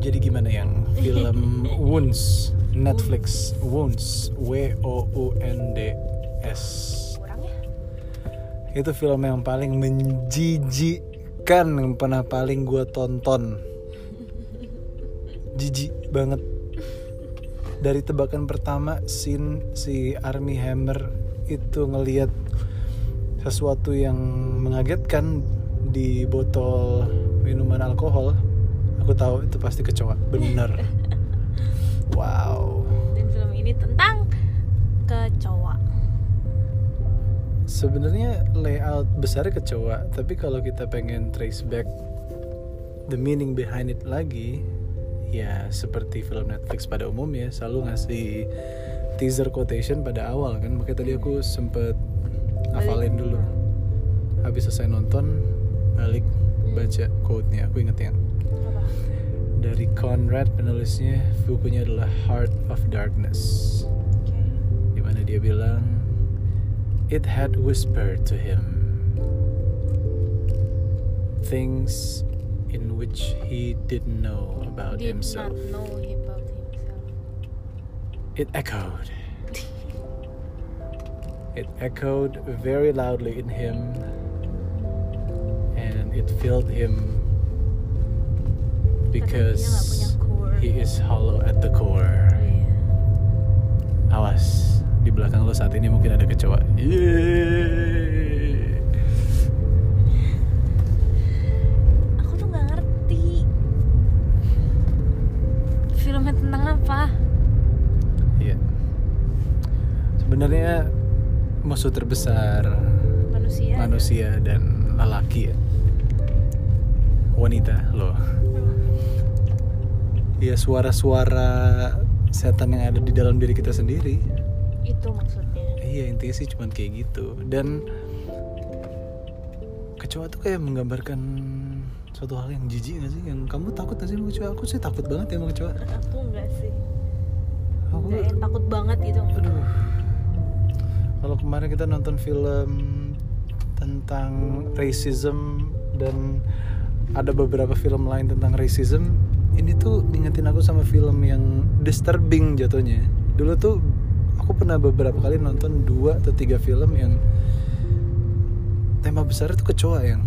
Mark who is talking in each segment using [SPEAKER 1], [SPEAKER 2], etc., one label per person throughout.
[SPEAKER 1] Jadi gimana yang film Wounds Netflix Wounds W O U N D S
[SPEAKER 2] kurang ya
[SPEAKER 1] itu film yang paling menjijikkan yang pernah paling gue tonton jijik banget dari tebakan pertama scene si Army Hammer itu ngeliat sesuatu yang mengagetkan di botol minuman alkohol aku tahu itu pasti kecoa bener wow
[SPEAKER 2] dan film ini tentang kecoa
[SPEAKER 1] sebenarnya layout besar kecoa tapi kalau kita pengen trace back the meaning behind it lagi ya seperti film Netflix pada umumnya selalu ngasih teaser quotation pada awal kan makanya tadi aku sempet hafalin
[SPEAKER 2] Balik. Hmm.
[SPEAKER 1] dulu habis selesai nonton balik baca quote-nya aku inget yang
[SPEAKER 2] Apa?
[SPEAKER 1] dari Conrad penulisnya bukunya adalah Heart of Darkness
[SPEAKER 2] Oke.
[SPEAKER 1] di mana dia bilang it had whispered to him things in which he didn't know about
[SPEAKER 2] Did
[SPEAKER 1] himself
[SPEAKER 2] not know about himself
[SPEAKER 1] it echoed it echoed very loudly in him and it filled him because
[SPEAKER 2] Karena dia nggak punya core.
[SPEAKER 1] he is hollow at the core
[SPEAKER 2] Iya.
[SPEAKER 1] Awas, di belakang lo saat ini mungkin ada kecoa. Yeay.
[SPEAKER 2] aku tuh nggak ngerti filmnya tentang apa
[SPEAKER 1] Iya. Sebenarnya musuh terbesar
[SPEAKER 2] manusia
[SPEAKER 1] manusia dan lelaki ya. Wanita loh. Ya suara-suara setan yang ada di dalam diri kita sendiri.
[SPEAKER 2] itu maksudnya
[SPEAKER 1] Iya intinya sih cuman kayak gitu dan kecoa tuh kayak menggambarkan suatu hal yang jijik gak sih? Yang kamu takut gak sih sama kecoa? Aku sih takut banget ya sama kecoa.
[SPEAKER 2] aku nggak sih
[SPEAKER 1] Aku
[SPEAKER 2] Nggak yang takut banget gitu
[SPEAKER 1] aduh. Kalau kemarin kita nonton film tentang racism dan ada beberapa film lain tentang racism, ini tuh ngingetin aku sama film yang disturbing jatuhnya. Dulu tuh aku pernah beberapa kali nonton dua atau tiga film yang tema besar itu kecoa yang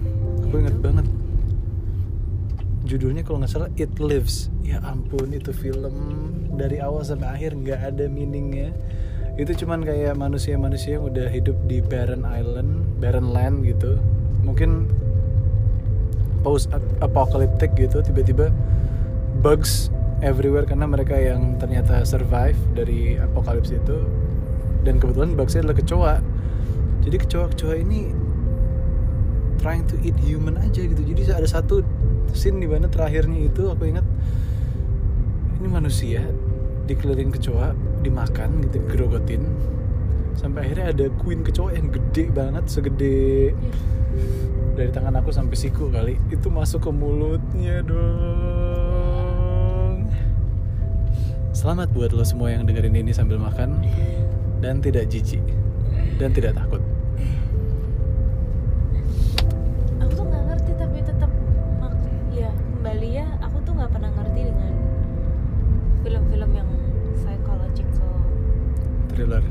[SPEAKER 1] aku inget
[SPEAKER 2] Itu.
[SPEAKER 1] banget judulnya kalau nggak salah It Lives ya ampun itu film dari awal sampai akhir nggak ada meaningnya itu cuman kayak manusia-manusia yang udah hidup di barren island barren land gitu mungkin post apocalyptic gitu tiba-tiba bugs everywhere karena mereka yang ternyata survive dari apokalips itu dan kebetulan bugsnya adalah kecoa jadi kecoa-kecoa ini trying to eat human aja gitu jadi ada satu scene di mana terakhirnya itu aku ingat ini manusia dikeliling kecoa dimakan gitu gerogotin sampai akhirnya ada queen kecoa yang gede banget segede
[SPEAKER 2] Iya.
[SPEAKER 1] dari tangan aku sampai siku kali itu masuk ke mulutnya dong selamat buat lo semua yang dengerin ini sambil makan dan tidak jijik dan tidak takut
[SPEAKER 2] aku tuh nggak ngerti tapi tetap mak- ya kembali ya aku tuh nggak pernah ngerti dengan film-film yang psychological
[SPEAKER 1] thriller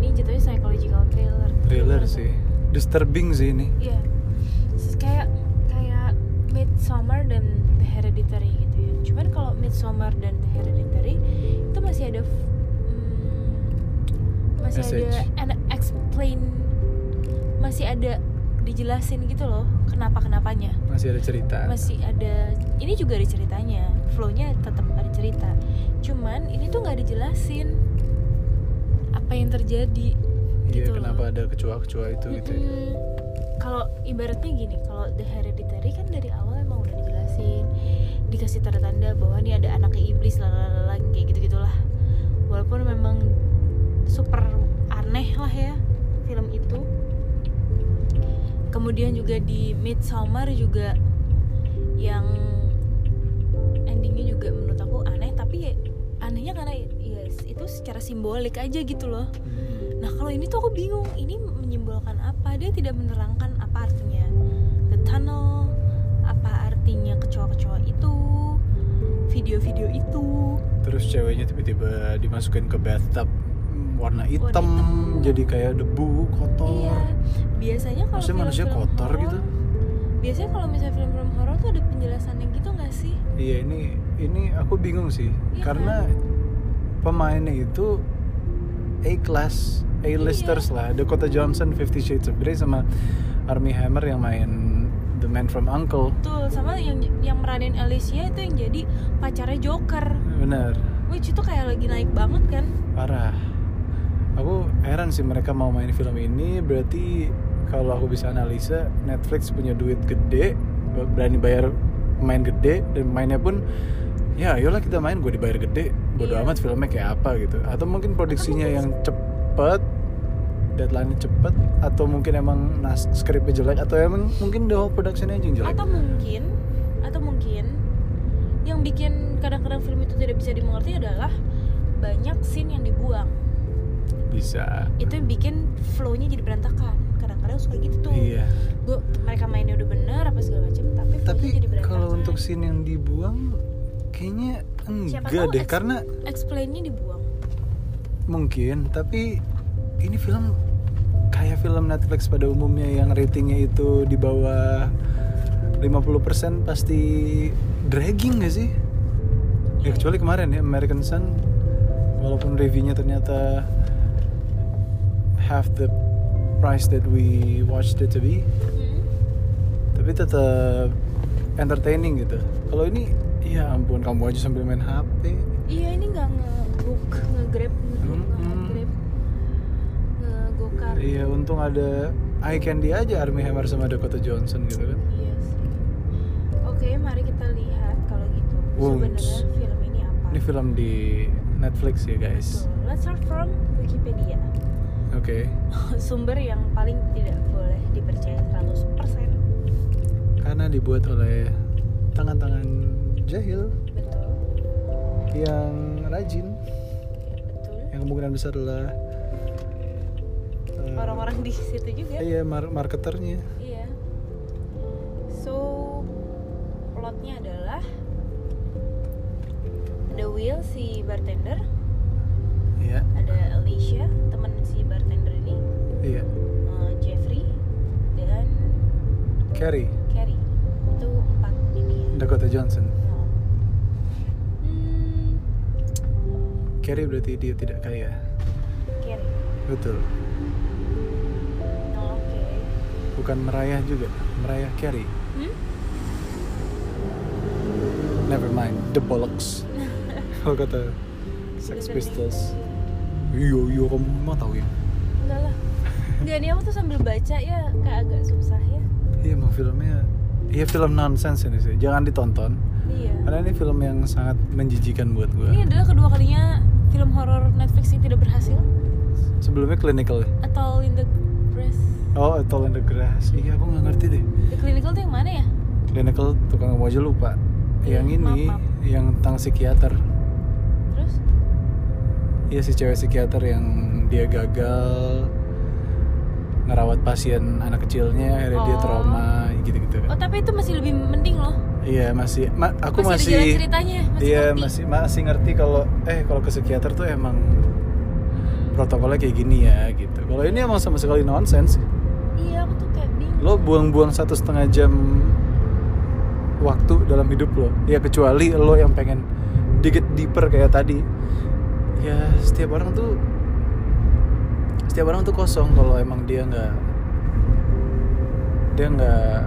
[SPEAKER 2] ini jatuhnya psychological thriller
[SPEAKER 1] thriller sih disturbing sih ini
[SPEAKER 2] Iya. Terus kayak kayak Midsummer dan The Hereditary gitu ya. Cuman kalau Midsummer dan The Hereditary itu masih ada f- mm, masih ada
[SPEAKER 1] Message.
[SPEAKER 2] an explain masih ada dijelasin gitu loh kenapa kenapanya
[SPEAKER 1] masih ada cerita
[SPEAKER 2] masih ada ini juga ada ceritanya flownya tetap ada cerita cuman ini tuh nggak dijelasin apa yang terjadi
[SPEAKER 1] iya
[SPEAKER 2] gitu loh.
[SPEAKER 1] kenapa ada kecoa-kecoa itu gitu ya.
[SPEAKER 2] Mm-mm. Kalau ibaratnya gini, kalau The Hereditary kan dari awal emang udah dijelasin, dikasih tanda-tanda bahwa ini ada anaknya iblis lalalala kayak gitu gitulah. Walaupun memang super aneh lah ya film itu. Kemudian juga di Midsummer juga yang endingnya juga menurut aku aneh, tapi ya anehnya karena ya itu secara simbolik aja gitu loh.
[SPEAKER 1] Hmm.
[SPEAKER 2] Nah kalau ini tuh aku bingung ini menyimbolkan apa dia tidak menerangkan apa artinya the tunnel apa artinya kecoa-kecoa itu video-video itu
[SPEAKER 1] terus ceweknya tiba-tiba dimasukin ke bathtub mm, warna hitam,
[SPEAKER 2] hitam.
[SPEAKER 1] jadi kayak debu kotor
[SPEAKER 2] iya biasanya kalau
[SPEAKER 1] Maksudnya manusia
[SPEAKER 2] film-film
[SPEAKER 1] kotor
[SPEAKER 2] horor,
[SPEAKER 1] gitu?
[SPEAKER 2] biasanya kalau misalnya film-film horor tuh ada penjelasannya gitu nggak sih
[SPEAKER 1] Iya ini ini aku bingung sih
[SPEAKER 2] Iya
[SPEAKER 1] karena pemainnya itu A class A listers lah Dakota Johnson Fifty Shades of Grey sama Army Hammer yang main The Man from Uncle
[SPEAKER 2] tuh sama yang yang meranin Alicia itu yang jadi pacarnya Joker
[SPEAKER 1] bener
[SPEAKER 2] which itu kayak lagi naik banget kan
[SPEAKER 1] parah aku heran sih mereka mau main film ini berarti kalau aku bisa analisa Netflix punya duit gede berani bayar main gede dan mainnya pun ya ayolah kita main gue dibayar gede bodo
[SPEAKER 2] Iya.
[SPEAKER 1] amat filmnya kayak apa gitu atau mungkin produksinya yang cepet deadline cepet atau mungkin emang nas skripnya jelek atau emang mungkin the whole productionnya aja yang jelek
[SPEAKER 2] atau mungkin atau mungkin yang bikin kadang-kadang film itu tidak bisa dimengerti adalah banyak scene yang dibuang
[SPEAKER 1] bisa
[SPEAKER 2] itu yang bikin flow-nya jadi berantakan kadang-kadang suka gitu tuh
[SPEAKER 1] iya
[SPEAKER 2] Gua- mereka mainnya udah bener apa segala macam tapi flow-nya
[SPEAKER 1] tapi
[SPEAKER 2] jadi berantakan
[SPEAKER 1] kalau untuk scene yang dibuang kayaknya enggak
[SPEAKER 2] Siapa tahu
[SPEAKER 1] deh
[SPEAKER 2] ex-
[SPEAKER 1] karena
[SPEAKER 2] explain-nya dibuang
[SPEAKER 1] mungkin tapi ini film kayak film Netflix pada umumnya yang ratingnya itu di bawah 50% pasti dragging gak sih? Ya
[SPEAKER 2] Iya.
[SPEAKER 1] kecuali kemarin ya American Sun walaupun reviewnya ternyata half the price that we watched it to be
[SPEAKER 2] Hmm.
[SPEAKER 1] tapi tetap entertaining gitu. Kalau ini ya ampun kamu aja sambil main HP.
[SPEAKER 2] iya ini nggak nge-book nge-grab nge-grab
[SPEAKER 1] Mm-mm.
[SPEAKER 2] nge-grab nge-gokar
[SPEAKER 1] Hmm. Iya untung ada eye candy aja Army Hammer sama Dakota Johnson gitu kan.
[SPEAKER 2] Iya sih. Oke, mari kita lihat kalau gitu
[SPEAKER 1] Wow.
[SPEAKER 2] sebenarnya film ini apa.
[SPEAKER 1] Ini film di Netflix ya guys.
[SPEAKER 2] Betul. Let's start from Wikipedia.
[SPEAKER 1] Oke.
[SPEAKER 2] Sumber yang paling tidak boleh dipercaya 100%.
[SPEAKER 1] Karena dibuat oleh tangan-tangan jahil
[SPEAKER 2] Betul.
[SPEAKER 1] yang rajin,
[SPEAKER 2] Ya, betul.
[SPEAKER 1] yang kemungkinan besar adalah eh,
[SPEAKER 2] Orang-orang di situ juga.
[SPEAKER 1] Iya mar- marketernya.
[SPEAKER 2] Iya. So plotnya adalah ada Will si bartender,
[SPEAKER 1] Iya.
[SPEAKER 2] ada Alicia teman si bartender ini,
[SPEAKER 1] Iya.
[SPEAKER 2] eh, Jeffrey dan
[SPEAKER 1] Carrie
[SPEAKER 2] Carrie itu empat ini ya.
[SPEAKER 1] Dakota Johnson.
[SPEAKER 2] Nah. Hmm,
[SPEAKER 1] Carrie berarti dia tidak kaya.
[SPEAKER 2] Carrie.
[SPEAKER 1] Betul.
[SPEAKER 2] Oh, Oke.
[SPEAKER 1] Bukan merayah juga. Merayah Carrie.
[SPEAKER 2] Hmm?
[SPEAKER 1] Never mind. The bollocks. Kalau kata Sex
[SPEAKER 2] Sudah
[SPEAKER 1] Pistols.
[SPEAKER 2] terdengar.
[SPEAKER 1] Iya iya kamu mau tahu ya?
[SPEAKER 2] Enggak lah. Enggak nih aku tuh sambil baca ya kayak agak susah ya.
[SPEAKER 1] Iya emang filmnya Iya film nonsense ini sih Jangan ditonton
[SPEAKER 2] Iya.
[SPEAKER 1] Karena ini film yang sangat menjijikan buat
[SPEAKER 2] Ini
[SPEAKER 1] gue
[SPEAKER 2] adalah kedua kalinya film horor Netflix yang tidak berhasil
[SPEAKER 1] Sebelumnya clinical ya
[SPEAKER 2] atau in the press.
[SPEAKER 1] Oh A Tall in the Grass Iya aku gak ngerti deh
[SPEAKER 2] The clinical tuh yang mana ya?
[SPEAKER 1] Clinical tukang kamu aja lupa Yang
[SPEAKER 2] Iya,
[SPEAKER 1] ini
[SPEAKER 2] maaf,
[SPEAKER 1] Yang tentang psikiater
[SPEAKER 2] Terus
[SPEAKER 1] Iya si cewek psikiater yang dia gagal Ngerawat pasien anak kecilnya Akhirnya dia
[SPEAKER 2] Oh.
[SPEAKER 1] trauma Gitu-gitu kan.
[SPEAKER 2] Oh, tapi itu masih lebih mending loh.
[SPEAKER 1] Iya masih ma- Aku
[SPEAKER 2] masih, ada jalan
[SPEAKER 1] masih
[SPEAKER 2] ceritanya, masih
[SPEAKER 1] Iya
[SPEAKER 2] ngerti.
[SPEAKER 1] masih masih ngerti kalau eh kalau ke psikiater tuh emang protokolnya kayak gini ya gitu. Kalau ini emang sama sekali nonsens.
[SPEAKER 2] Iya, aku tuh kayak bingung.
[SPEAKER 1] Lo buang-buang satu setengah jam waktu dalam hidup lo. Ya kecuali lo yang pengen digit deeper kayak tadi. Ya setiap orang tuh setiap orang tuh kosong kalau emang dia nggak dia nggak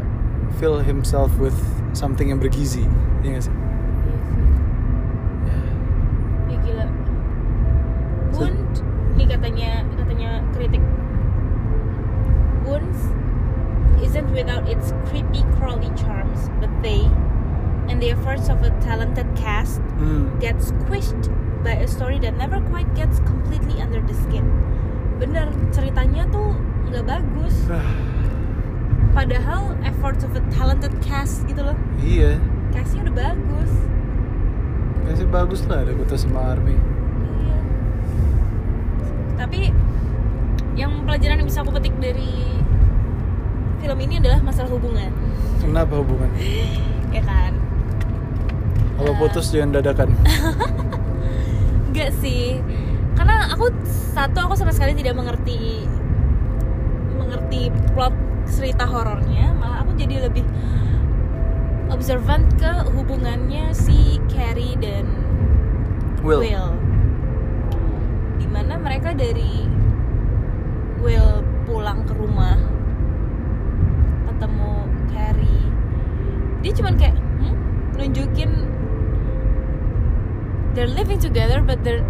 [SPEAKER 1] fill himself with something yang bergizi, ya nggak sih?
[SPEAKER 2] Iya sih.
[SPEAKER 1] Ya.
[SPEAKER 2] Ya gila. Bund, nih katanya katanya kritik. Buns isn't without its creepy crawly charms, but they and the efforts of a talented cast
[SPEAKER 1] Hmm.
[SPEAKER 2] get squished by a story that never quite gets completely under the skin. Bener, ceritanya tuh nggak bagus.
[SPEAKER 1] Ah,
[SPEAKER 2] Padahal efforts of a talented cast gitu loh.
[SPEAKER 1] iya,
[SPEAKER 2] Castnya udah bagus.
[SPEAKER 1] kayaknya sih bagus lah ada kota sama Army.
[SPEAKER 2] Iya. Tapi yang pelajaran yang bisa aku petik dari film ini adalah masalah hubungan,
[SPEAKER 1] Kenapa hubungan?
[SPEAKER 2] ya kan?
[SPEAKER 1] Kalau putus jangan dadakan.
[SPEAKER 2] Enggak sih. Karena aku satu aku sama sekali tidak mengerti mengerti plot cerita horornya, malah aku jadi lebih observant ke hubungannya si Carrie dan
[SPEAKER 1] Will.
[SPEAKER 2] Dimana mereka dari Will pulang ke rumah ketemu Carrie. Dia cuman kayak "Hmm?" nunjukin they're living together but they're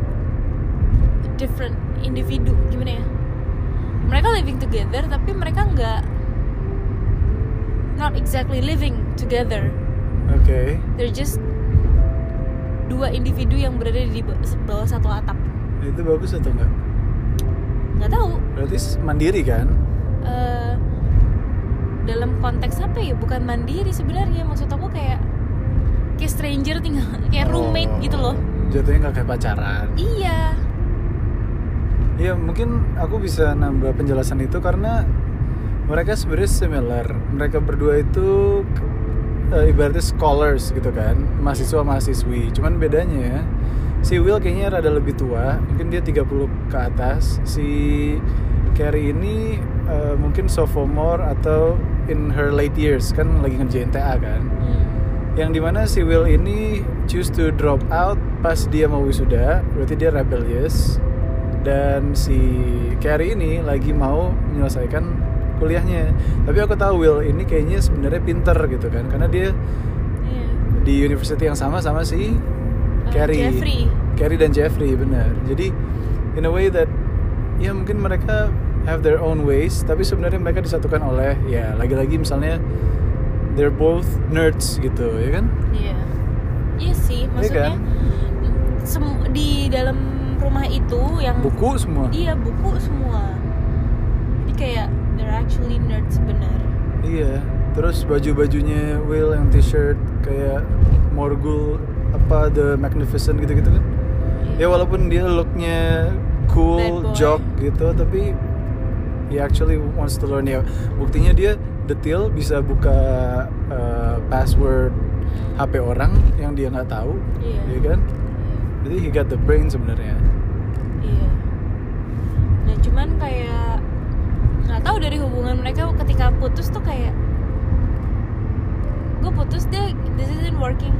[SPEAKER 2] different individu gimana ya? Mereka living together tapi mereka nggak not exactly living together
[SPEAKER 1] Oke.
[SPEAKER 2] they're just dua individu yang berada di ba- bawah satu atap
[SPEAKER 1] Itu bagus atau enggak?
[SPEAKER 2] nggak tahu
[SPEAKER 1] Berarti s- mandiri kan?
[SPEAKER 2] eh, dalam konteks apa ya bukan mandiri sebenarnya maksud aku kayak kayak stranger tinggal kayak roommate
[SPEAKER 1] Oh,
[SPEAKER 2] gitu loh
[SPEAKER 1] Jatuhnya nggak kayak pacaran.
[SPEAKER 2] iya
[SPEAKER 1] Iya mungkin aku bisa nambah penjelasan itu karena mereka sebenarnya similar. Mereka berdua itu eh, ibaratnya scholars gitu kan, mahasiswa mahasiswi. Cuman bedanya ya, si Will kayaknya rada lebih tua, mungkin dia 30 ke atas. Si Carrie ini eh, mungkin sophomore atau in her late years kan lagi ngerjain TA kan
[SPEAKER 2] Hmm.
[SPEAKER 1] yang dimana si Will ini choose to drop out pas dia mau wisuda berarti dia rebellious dan si Carrie ini lagi mau menyelesaikan kuliahnya tapi aku tahu Will ini kayaknya sebenarnya pinter gitu kan karena dia
[SPEAKER 2] Iya.
[SPEAKER 1] di university yang sama sama si
[SPEAKER 2] Eh,
[SPEAKER 1] Carrie
[SPEAKER 2] Jeffrey
[SPEAKER 1] Carrie dan Jeffrey benar jadi in a way that ya mungkin mereka have their own ways tapi sebenarnya mereka disatukan oleh ya lagi-lagi misalnya they're both nerds gitu ya kan
[SPEAKER 2] iya iya sih maksudnya
[SPEAKER 1] kan?
[SPEAKER 2] sem- di dalam rumah itu yang
[SPEAKER 1] buku semua
[SPEAKER 2] Iya buku semua. Jadi kayak they're actually nerds bener.
[SPEAKER 1] iya terus baju bajunya Will yang t-shirt kayak Morgul apa The Magnificent gitu gitu kan ya walaupun dia looknya cool
[SPEAKER 2] Iya. Bad boy.
[SPEAKER 1] jock gitu tapi he actually wants to learn ya buktinya dia detail bisa buka uh, password HP orang yang dia nggak tahu
[SPEAKER 2] Iya.
[SPEAKER 1] ya kan jadi he got the brain sebenarnya
[SPEAKER 2] Iya. Nah cuman kayak nggak tahu dari hubungan mereka ketika putus tuh kayak gue putus deh this isn't working.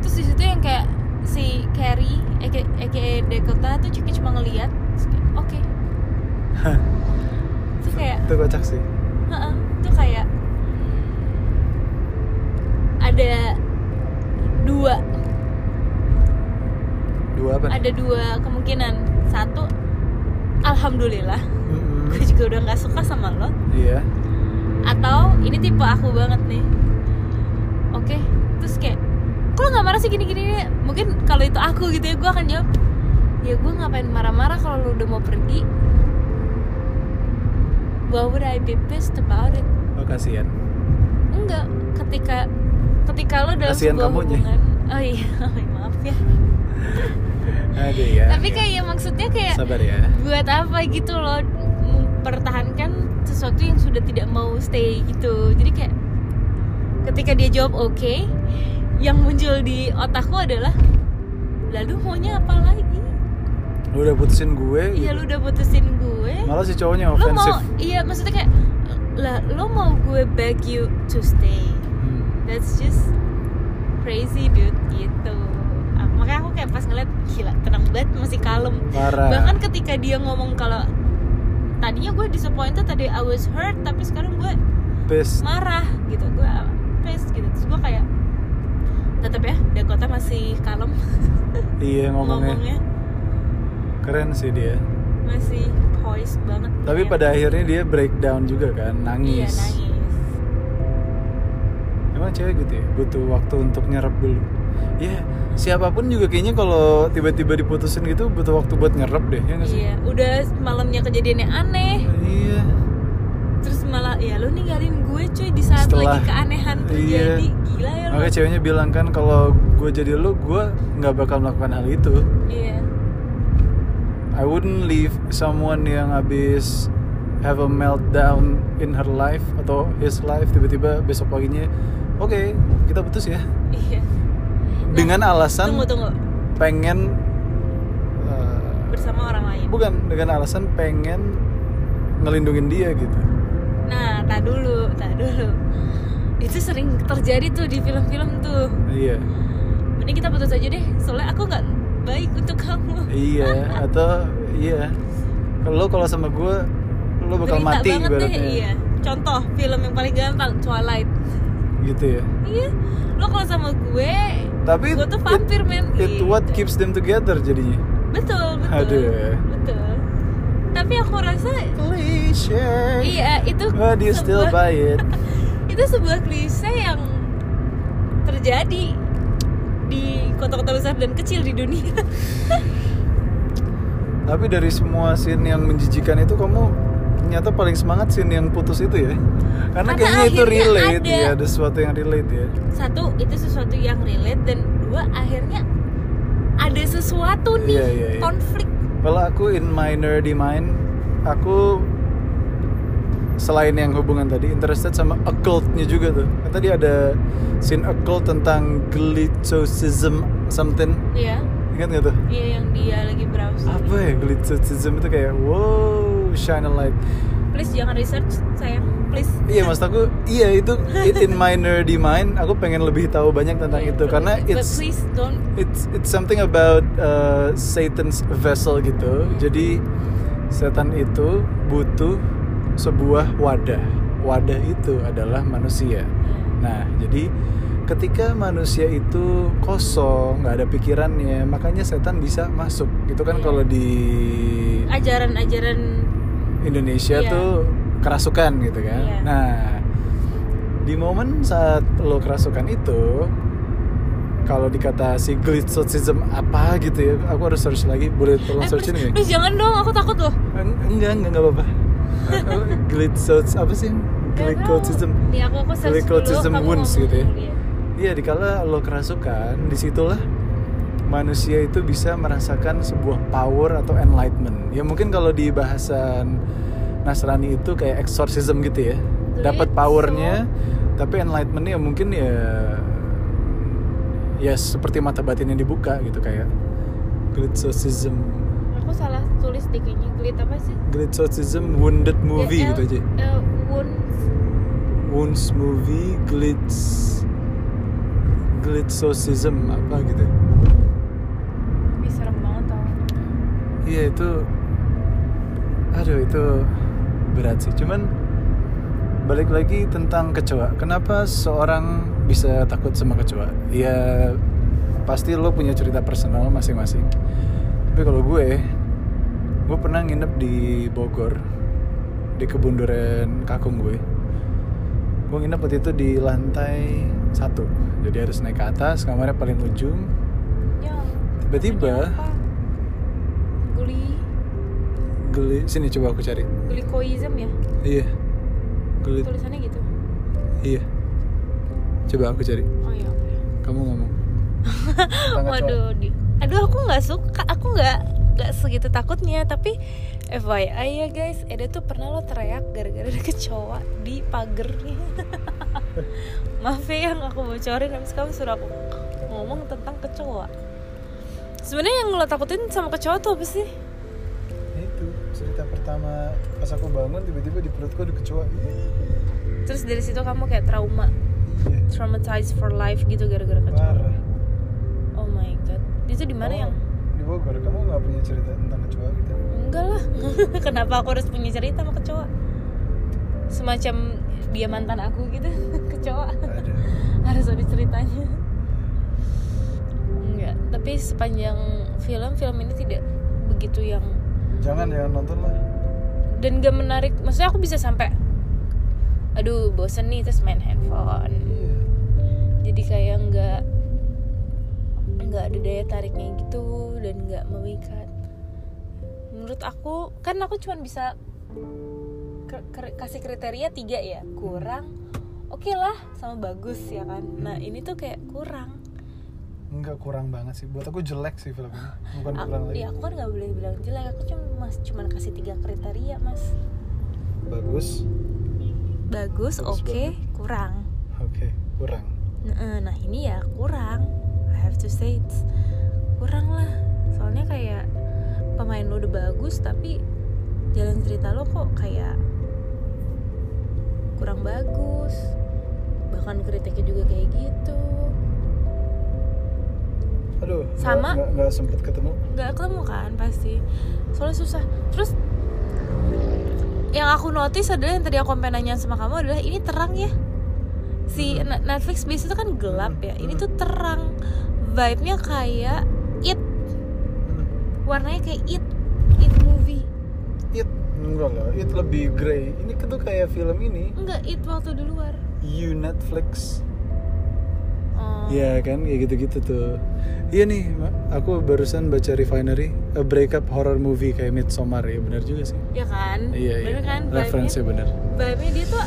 [SPEAKER 2] Terus di situ yang kayak si Carrie, aka aka Dakota tuh cuma cuma ngeliat, terus kayak, oke. Terus kayak
[SPEAKER 1] itu kocak sih
[SPEAKER 2] Heeh, tuh kayak ada dua
[SPEAKER 1] dua apa nih?
[SPEAKER 2] ada dua kemungkinan satu alhamdulillah
[SPEAKER 1] Mm-mm.
[SPEAKER 2] gue juga udah nggak suka sama lo
[SPEAKER 1] iya
[SPEAKER 2] atau ini tipe aku banget nih oke terus kayak kok lo nggak marah sih gini gini mungkin kalau itu aku gitu ya gue akan jawab ya gue ngapain marah-marah kalau lo udah mau pergi why would I be pissed about it
[SPEAKER 1] oh kasihan
[SPEAKER 2] enggak ketika ketika lo dalam
[SPEAKER 1] Kasihan
[SPEAKER 2] sebuah
[SPEAKER 1] kamunya.
[SPEAKER 2] hubungan oh iya maaf ya
[SPEAKER 1] aduh ya
[SPEAKER 2] tapi kayak maksudnya kayak
[SPEAKER 1] sabar ya
[SPEAKER 2] buat apa gitu lo mempertahankan sesuatu yang sudah tidak mau stay gitu jadi kayak ketika dia jawab oke yang muncul di otakku adalah lalu maunya apa lagi
[SPEAKER 1] lu udah putusin gue
[SPEAKER 2] iya
[SPEAKER 1] gitu.
[SPEAKER 2] lu udah putusin gue
[SPEAKER 1] malah si cowoknya
[SPEAKER 2] lo mau
[SPEAKER 1] ofensif
[SPEAKER 2] iya maksudnya kayak lah lo mau gue beg you to stay
[SPEAKER 1] Hmm.
[SPEAKER 2] That's just crazy dude gitu Ah, Makanya aku kayak pas ngeliat gila tenang banget masih kalem
[SPEAKER 1] parah
[SPEAKER 2] Bahkan ketika dia ngomong kalau Tadinya gue disappointed, tadi I was hurt Tapi sekarang gue
[SPEAKER 1] Pissed.
[SPEAKER 2] marah gitu Gue pissed gitu Terus gue kayak tetap ya Dakota masih kalem
[SPEAKER 1] iya ngomongnya.
[SPEAKER 2] ngomongnya
[SPEAKER 1] keren sih dia
[SPEAKER 2] Masih poised banget gitu ya."
[SPEAKER 1] tapi
[SPEAKER 2] Kayak-
[SPEAKER 1] pada akhirnya dia breakdown juga kan
[SPEAKER 2] Iya
[SPEAKER 1] nangis.
[SPEAKER 2] nangis
[SPEAKER 1] emang cewek gitu ya butuh waktu untuk nyerap dulu ya siapapun juga kayaknya kalau tiba-tiba diputusin gitu butuh waktu buat nyerap deh ya nggak sih
[SPEAKER 2] Iya udah malamnya kejadiannya aneh
[SPEAKER 1] iya
[SPEAKER 2] terus malah ya lu ninggalin gue cuy di saat
[SPEAKER 1] Setelah-
[SPEAKER 2] lagi keanehan terjadi
[SPEAKER 1] Iya.
[SPEAKER 2] gila ya lu
[SPEAKER 1] makanya ceweknya bilang kan kalau gue jadi lo gue nggak bakal melakukan hal itu
[SPEAKER 2] iya
[SPEAKER 1] I wouldn't leave someone yang abis have a meltdown in her life atau his life tiba-tiba besok paginya oke kita putus ya
[SPEAKER 2] iya
[SPEAKER 1] dengan alasan
[SPEAKER 2] tunggu tunggu
[SPEAKER 1] pengen eh,
[SPEAKER 2] bersama orang lain
[SPEAKER 1] bukan dengan alasan pengen ngelindungin dia gitu
[SPEAKER 2] nah tak dulu tak dulu itu sering terjadi tuh di film-film tuh
[SPEAKER 1] iya
[SPEAKER 2] mending kita putus aja deh soalnya aku nggak baik untuk kamu
[SPEAKER 1] iya atau iya lo kalau sama gue lo bakal
[SPEAKER 2] Derita
[SPEAKER 1] mati
[SPEAKER 2] banget deh
[SPEAKER 1] ibaratnya
[SPEAKER 2] iya contoh film yang paling gampang Twilight
[SPEAKER 1] gitu ya
[SPEAKER 2] iya lo kalau sama gue
[SPEAKER 1] tapi
[SPEAKER 2] gue tuh vampir men
[SPEAKER 1] it, it
[SPEAKER 2] Gitu.
[SPEAKER 1] what keeps them together jadinya
[SPEAKER 2] betul betul
[SPEAKER 1] Aduh.
[SPEAKER 2] betul tapi aku rasa
[SPEAKER 1] cliche
[SPEAKER 2] iya itu
[SPEAKER 1] but you still
[SPEAKER 2] sebuah-
[SPEAKER 1] buy it
[SPEAKER 2] itu sebuah klise yang terjadi di kota-kota besar dan kecil di dunia
[SPEAKER 1] tapi dari semua scene yang menjijikan itu kamu ternyata paling semangat scene yang putus itu ya karena,
[SPEAKER 2] Karena
[SPEAKER 1] kayaknya itu
[SPEAKER 2] akhirnya
[SPEAKER 1] relate
[SPEAKER 2] ada.
[SPEAKER 1] ya ada sesuatu yang relate ya
[SPEAKER 2] satu itu sesuatu yang relate dan dua akhirnya ada sesuatu nih
[SPEAKER 1] Iya, iya, iya.
[SPEAKER 2] konflik
[SPEAKER 1] Kalau aku in my nerdy mind, aku selain yang hubungan tadi interested sama occultnya juga tuh. Kan Tadi ada scene occult tentang glitchosism something.
[SPEAKER 2] ya
[SPEAKER 1] Ingat nggak tuh?
[SPEAKER 2] iya yang dia lagi browsing
[SPEAKER 1] Apa ya glitchosism itu kayak wow shine a light.
[SPEAKER 2] please jangan research sayang please
[SPEAKER 1] Iya maksud aku iya itu it in my nerdy mind aku pengen lebih tahu banyak tentang
[SPEAKER 2] Iya,
[SPEAKER 1] itu karena
[SPEAKER 2] but
[SPEAKER 1] it's
[SPEAKER 2] please don't
[SPEAKER 1] it's it's something about uh, Satan's vessel gitu. Jadi setan itu butuh sebuah wadah. Wadah itu adalah manusia. Nah, jadi ketika manusia itu kosong, nggak ada pikirannya, makanya setan bisa masuk. Itu kan
[SPEAKER 2] Iya.
[SPEAKER 1] kalau di
[SPEAKER 2] ajaran-ajaran
[SPEAKER 1] Indonesia
[SPEAKER 2] Iya.
[SPEAKER 1] tuh kerasukan gitu kan.
[SPEAKER 2] Iya.
[SPEAKER 1] Nah, di momen saat lo kerasukan itu kalau dikata si glitch socialism apa gitu ya, aku harus search lagi. Boleh tolong
[SPEAKER 2] eh,
[SPEAKER 1] searchin
[SPEAKER 2] please,
[SPEAKER 1] nggak?
[SPEAKER 2] please jangan dong aku takut loh
[SPEAKER 1] Eng- Enggak, enggak enggak apa-apa. glitch soc- apa sih?
[SPEAKER 2] Gak
[SPEAKER 1] Glitch
[SPEAKER 2] tahu.
[SPEAKER 1] socialism.
[SPEAKER 2] nih aku aku search dulu
[SPEAKER 1] Glycotism
[SPEAKER 2] kamu
[SPEAKER 1] wounds
[SPEAKER 2] ngomong
[SPEAKER 1] gitu ya.
[SPEAKER 2] dulu, iya.
[SPEAKER 1] Iya, dikala lo kerasukan, disitulah manusia itu bisa merasakan sebuah power atau enlightenment. Ya mungkin kalau di bahasan Nasrani itu kayak exorcism gitu ya. Dapat
[SPEAKER 2] Glitch,
[SPEAKER 1] powernya, tapi enlightenmentnya mungkin ya ya seperti mata batin yang dibuka gitu kayak glitchosism
[SPEAKER 2] aku salah tulis deh kayaknya glit apa sih
[SPEAKER 1] glitchosism wounded movie
[SPEAKER 2] Ya,
[SPEAKER 1] gitu aja
[SPEAKER 2] L- eh, wounds
[SPEAKER 1] wounds movie glitch glitchosism apa gitu
[SPEAKER 2] Ih, serem banget tau
[SPEAKER 1] Iya itu Aduh itu berat sih Cuman balik lagi tentang kecoa Kenapa seorang bisa takut sama kecoa Ya pasti lo punya cerita personal masing-masing Tapi kalau gue Gue pernah nginep di Bogor Di kebunduran kakung gue Gue nginep waktu itu di lantai satu Jadi harus naik ke atas, kamarnya paling ujung
[SPEAKER 2] Ya,
[SPEAKER 1] Tiba-tiba
[SPEAKER 2] apa? Gli
[SPEAKER 1] geli Sini coba aku cari
[SPEAKER 2] glikoism ya
[SPEAKER 1] Iya. Gelit.
[SPEAKER 2] tulisannya gitu
[SPEAKER 1] Iya. Coba aku cari.
[SPEAKER 2] oh iya oke.
[SPEAKER 1] Kamu ngomong. Tentang kecoa.
[SPEAKER 2] waduh di aduh aku nggak suka aku nggak nggak segitu takutnya tapi FYI ya guys Eda tuh pernah lo teriak gara-gara ada kecoa di pagernya maaf ya yang aku bocorin habis kamu suruh aku ngomong tentang kecoa sebenarnya yang lo takutin sama kecoa tuh apa sih
[SPEAKER 1] Itu cerita pertama pas aku bangun tiba-tiba di perutku ada kecoa.
[SPEAKER 2] terus dari situ kamu kayak trauma
[SPEAKER 1] Iya.
[SPEAKER 2] traumatized for life gitu gara-gara kecoa
[SPEAKER 1] Parah.
[SPEAKER 2] Oh my god. Itu di mana
[SPEAKER 1] Kamu
[SPEAKER 2] yang?
[SPEAKER 1] Di Bogor. Kamu nggak punya cerita tentang kecoa gitu?
[SPEAKER 2] Enggak lah. Kenapa aku harus punya cerita sama kecoa? Semacam dia mantan aku gitu, kecoa.
[SPEAKER 1] Ada.
[SPEAKER 2] Harus ada ceritanya. Enggak, tapi sepanjang film film ini tidak begitu yang
[SPEAKER 1] Jangan jangan nonton lah.
[SPEAKER 2] dan gak menarik. Maksudnya aku bisa sampai aduh bosen nih terus main handphone
[SPEAKER 1] Iya.
[SPEAKER 2] jadi kayak nggak nggak ada daya tariknya gitu dan nggak memikat menurut aku kan aku cuman bisa ke- ke- kasih kriteria tiga ya kurang oke lah sama bagus ya kan nah
[SPEAKER 1] Hmm.
[SPEAKER 2] ini tuh kayak kurang
[SPEAKER 1] Enggak kurang banget sih. Buat aku jelek sih film ini. Bukan kurang
[SPEAKER 2] aku,
[SPEAKER 1] lagi.
[SPEAKER 2] ya aku kan nggak boleh bilang jelek aku cuma mas cuman kasih tiga kriteria mas
[SPEAKER 1] Bagus. Bagus
[SPEAKER 2] bagus oke kurang
[SPEAKER 1] Oke. Kurang.
[SPEAKER 2] Nah, eh, nah ini ya kurang have to say it's kurang lah soalnya kayak pemain lu udah bagus tapi jalan cerita lo kok kayak kurang bagus bahkan kritiknya juga kayak gitu
[SPEAKER 1] aduh nggak-
[SPEAKER 2] Sama.
[SPEAKER 1] nggak nggak sempet ketemu
[SPEAKER 2] nggak ketemu kan pasti soalnya susah terus yang aku notice adalah yang tadi aku sampai nanya sama kamu adalah ini terang ya si
[SPEAKER 1] Hmm.
[SPEAKER 2] Na- Netflix biasanya tuh kan gelap ya ini
[SPEAKER 1] Hmm.
[SPEAKER 2] tuh terang vibe-nya kayak it
[SPEAKER 1] Hmm.
[SPEAKER 2] warnanya kayak it it movie
[SPEAKER 1] it enggak lah it lebih grey ini kan tuh kayak film ini
[SPEAKER 2] enggak it waktu di luar
[SPEAKER 1] you Netflix
[SPEAKER 2] oh.
[SPEAKER 1] Iya kan, kayak gitu-gitu tuh. Iya nih, Ma- aku barusan baca Refinery, a breakup horror movie kayak Midsommar ya, benar juga sih.
[SPEAKER 2] ya kan
[SPEAKER 1] Iya,
[SPEAKER 2] bener
[SPEAKER 1] iya.
[SPEAKER 2] kan
[SPEAKER 1] Referensinya benar.
[SPEAKER 2] vibe dia tuh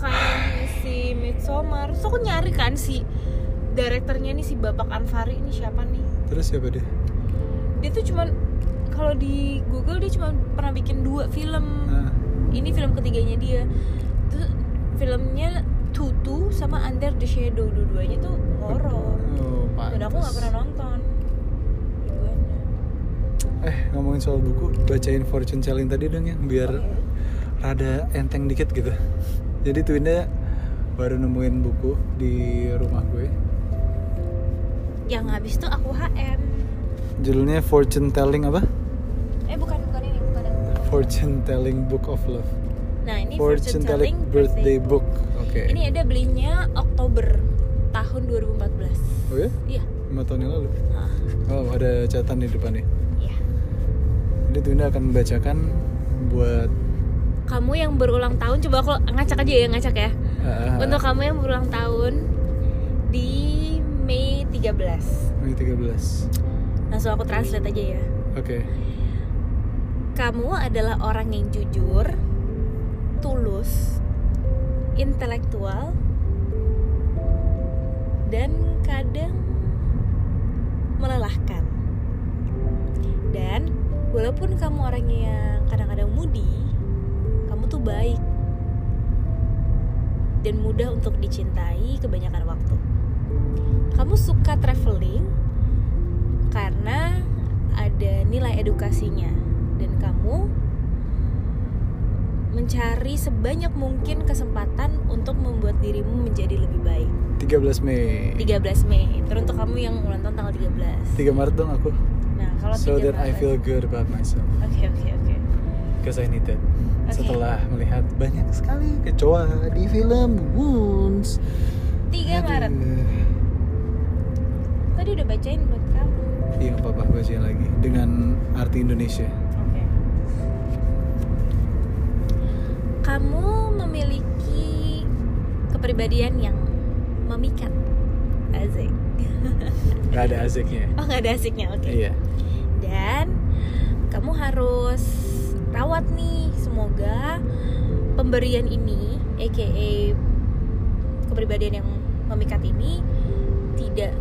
[SPEAKER 2] kayak si Midsommar Terus aku nyari kan si direkturnya nih si Bapak Anfari ini siapa nih
[SPEAKER 1] Terus siapa dia?
[SPEAKER 2] Dia tuh cuman kalau di Google dia cuma pernah bikin dua film
[SPEAKER 1] Ah,
[SPEAKER 2] Ini film ketiganya dia Terus filmnya Tutu sama Under the Shadow Dua-duanya tuh horor
[SPEAKER 1] oh,
[SPEAKER 2] Dan aku gak
[SPEAKER 1] pantes.
[SPEAKER 2] pernah nonton Dua-duanya
[SPEAKER 1] Eh, ngomongin soal buku, bacain Fortune Telling tadi dong ya, biar rada enteng dikit gitu. Jadi Twinda baru nemuin buku di rumah gue.
[SPEAKER 2] Yang habis tuh aku HM
[SPEAKER 1] Judulnya Fortune Telling apa?
[SPEAKER 2] Eh bukan, bukan ini, bukan yang
[SPEAKER 1] Fortune Telling Book of Love.
[SPEAKER 2] Nah ini Fortune, Telling
[SPEAKER 1] Birthday Book. Oke.
[SPEAKER 2] Ini ya? ada belinya Oktober tahun
[SPEAKER 1] Oh
[SPEAKER 2] 2014.
[SPEAKER 1] ya?
[SPEAKER 2] Iya.
[SPEAKER 1] 5 tahun yang lalu.
[SPEAKER 2] Ah,
[SPEAKER 1] Oh, ada catatan di depannya.
[SPEAKER 2] iya.
[SPEAKER 1] Jadi Tunda akan membacakan buat
[SPEAKER 2] Kamu yang berulang tahun coba aku ngacak aja ya ngacak ya.
[SPEAKER 1] ah,
[SPEAKER 2] Untuk kamu yang berulang tahun di Mei 13.
[SPEAKER 1] Mei 13. Oke.
[SPEAKER 2] Langsung aku translate aja ya. Kamu adalah orang yang jujur, tulus, intelektual, dan kadang melelahkan. Dan walaupun kamu orangnya yang kadang-kadang mudi, kamu tuh baik dan mudah untuk dicintai kebanyakan waktu. Kamu suka traveling karena ada nilai edukasinya dan kamu mencari sebanyak mungkin kesempatan untuk membuat dirimu menjadi lebih baik.
[SPEAKER 1] 13 Mei.
[SPEAKER 2] 13 Mei. Terus untuk kamu yang ulang tahun tanggal 13.
[SPEAKER 1] 3 Maret dong aku.
[SPEAKER 2] Nah, kalau
[SPEAKER 1] So
[SPEAKER 2] 13.
[SPEAKER 1] that I feel good about myself.
[SPEAKER 2] Oke, oke, oke.
[SPEAKER 1] Because I need that.
[SPEAKER 2] Oke.
[SPEAKER 1] Setelah melihat banyak sekali kecoa di film Wounds.
[SPEAKER 2] 3 Maret. Tadi udah bacain buat kamu.
[SPEAKER 1] Iya, nggak apa-apa bacain lagi dengan arti Indonesia.
[SPEAKER 2] Oke. Kamu memiliki kepribadian yang memikat. Asik.
[SPEAKER 1] Gak ada azeknya.
[SPEAKER 2] Oh, nggak ada asiknya. Oke.
[SPEAKER 1] Iya.
[SPEAKER 2] dan kamu harus rawat nih semoga pemberian ini aka kepribadian yang memikat ini tidak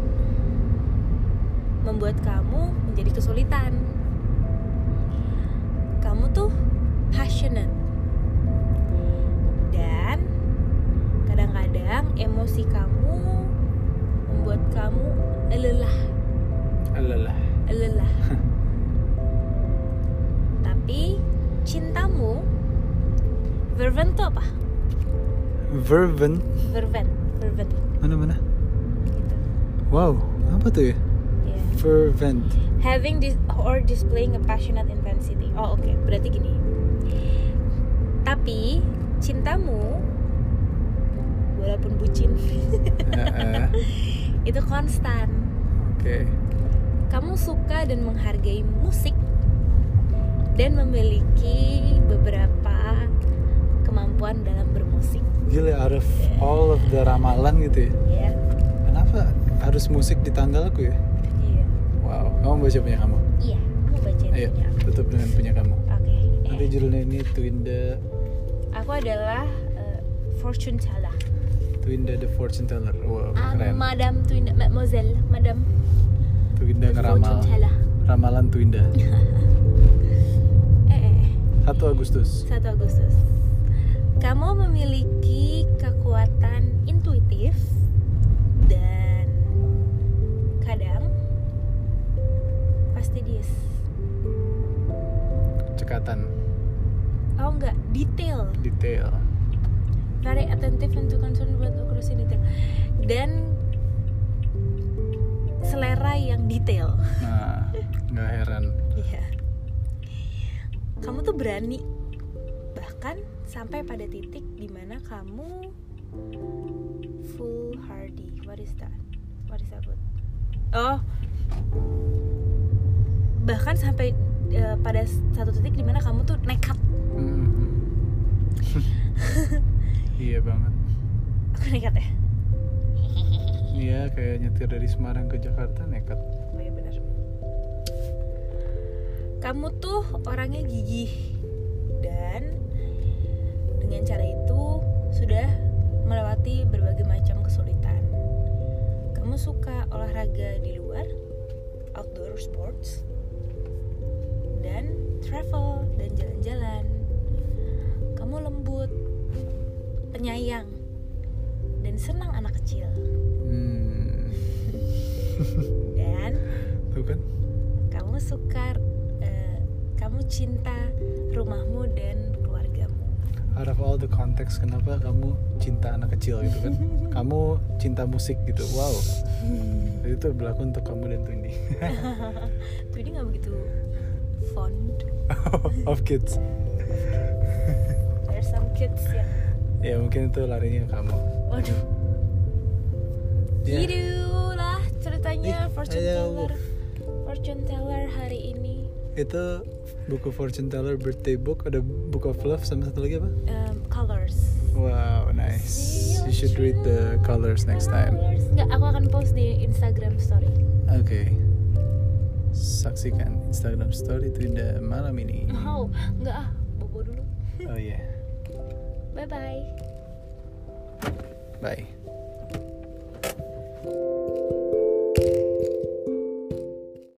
[SPEAKER 2] membuat kamu menjadi kesulitan kamu tuh passionate dan kadang-kadang emosi kamu membuat kamu lelah
[SPEAKER 1] Alalah.
[SPEAKER 2] lelah. Tapi cintamu Verven tuh apa?
[SPEAKER 1] Verven.
[SPEAKER 2] Verven, Verven
[SPEAKER 1] Mana-mana?
[SPEAKER 2] gitu.
[SPEAKER 1] Wow, apa tuh ya?
[SPEAKER 2] Ya.
[SPEAKER 1] Fervent.
[SPEAKER 2] Having this or displaying a passionate intensity. Oh, oke. Berarti gini. Tapi cintamu walaupun bucin
[SPEAKER 1] Heeh.
[SPEAKER 2] itu konstan.
[SPEAKER 1] Oke.
[SPEAKER 2] Kamu suka dan menghargai musik dan memiliki beberapa kemampuan dalam bermusik.
[SPEAKER 1] Gila, out of all of the ramalan gitu ya.
[SPEAKER 2] Ya.
[SPEAKER 1] Kenapa harus musik di tanggal aku ya?
[SPEAKER 2] Iya.
[SPEAKER 1] Wow, kamu baca punya kamu.
[SPEAKER 2] Iya, aku bacain
[SPEAKER 1] Ayo,
[SPEAKER 2] punya aku.
[SPEAKER 1] tutup dengan punya kamu.
[SPEAKER 2] Oke.
[SPEAKER 1] Nanti
[SPEAKER 2] Eh,
[SPEAKER 1] judulnya ini Twinda,
[SPEAKER 2] aku adalah eh, fortune teller.
[SPEAKER 1] Twinda the fortune teller. Wow,
[SPEAKER 2] Ah,
[SPEAKER 1] Oh, keren.
[SPEAKER 2] Madam Twinda, Mademoiselle, Madam
[SPEAKER 1] Twinda ngeramal.
[SPEAKER 2] fortune teller.
[SPEAKER 1] Ramalan Twinda.
[SPEAKER 2] Eh, eh, eh.
[SPEAKER 1] 1 Agustus.
[SPEAKER 2] 1 Agustus. Kamu memiliki kekuatan intuitif dan kadang fastidious
[SPEAKER 1] cekatan
[SPEAKER 2] oh enggak detail
[SPEAKER 1] detail
[SPEAKER 2] very attentive and too concerned about accuracy detail dan selera yang detail
[SPEAKER 1] nah nggak heran
[SPEAKER 2] Iya. Kamu tuh berani bahkan sampai pada titik dimana kamu foolhardy. What is that? What is that word? Oh, bahkan sampai eh, pada satu titik dimana kamu tuh nekat.
[SPEAKER 1] Mhm. iya banget
[SPEAKER 2] Aku nekat ya.
[SPEAKER 1] iya kayak nyetir dari Semarang ke Jakarta nekat
[SPEAKER 2] Oh iya benar. Kamu tuh orangnya gigih dan dengan cara itu sudah melewati berbagai macam kesulitan. Kamu suka olahraga di luar, outdoor sports, dan travel dan jalan-jalan. Kamu lembut, penyayang, dan senang anak kecil.
[SPEAKER 1] hmm.
[SPEAKER 2] Dan
[SPEAKER 1] tuh kan
[SPEAKER 2] kamu suka eh, kamu cinta rumahmu dan keluargamu
[SPEAKER 1] out of all the context kenapa kamu cinta anak kecil gitu kan kamu cinta musik gitu wow Jadi itu berlaku untuk kamu dan Tuni
[SPEAKER 2] tuh dia nggak begitu fond
[SPEAKER 1] of kids
[SPEAKER 2] there's some kids yang
[SPEAKER 1] ya mungkin itu larinya ke kamu
[SPEAKER 2] waduh
[SPEAKER 1] Ya.
[SPEAKER 2] Gitulah ceritanya
[SPEAKER 1] Ih,
[SPEAKER 2] fortune
[SPEAKER 1] ada-
[SPEAKER 2] teller fortune teller hari ini
[SPEAKER 1] itu buku fortune teller birthday book ada book of love sama satu lagi apa
[SPEAKER 2] um, colors
[SPEAKER 1] wow nice you should read the colors next time
[SPEAKER 2] Colors. Nggak, aku akan post di Instagram story
[SPEAKER 1] oke saksikan Instagram story Tunda malam ini
[SPEAKER 2] mau nggak ah bobo dulu
[SPEAKER 1] oh iya
[SPEAKER 2] bye bye
[SPEAKER 1] bye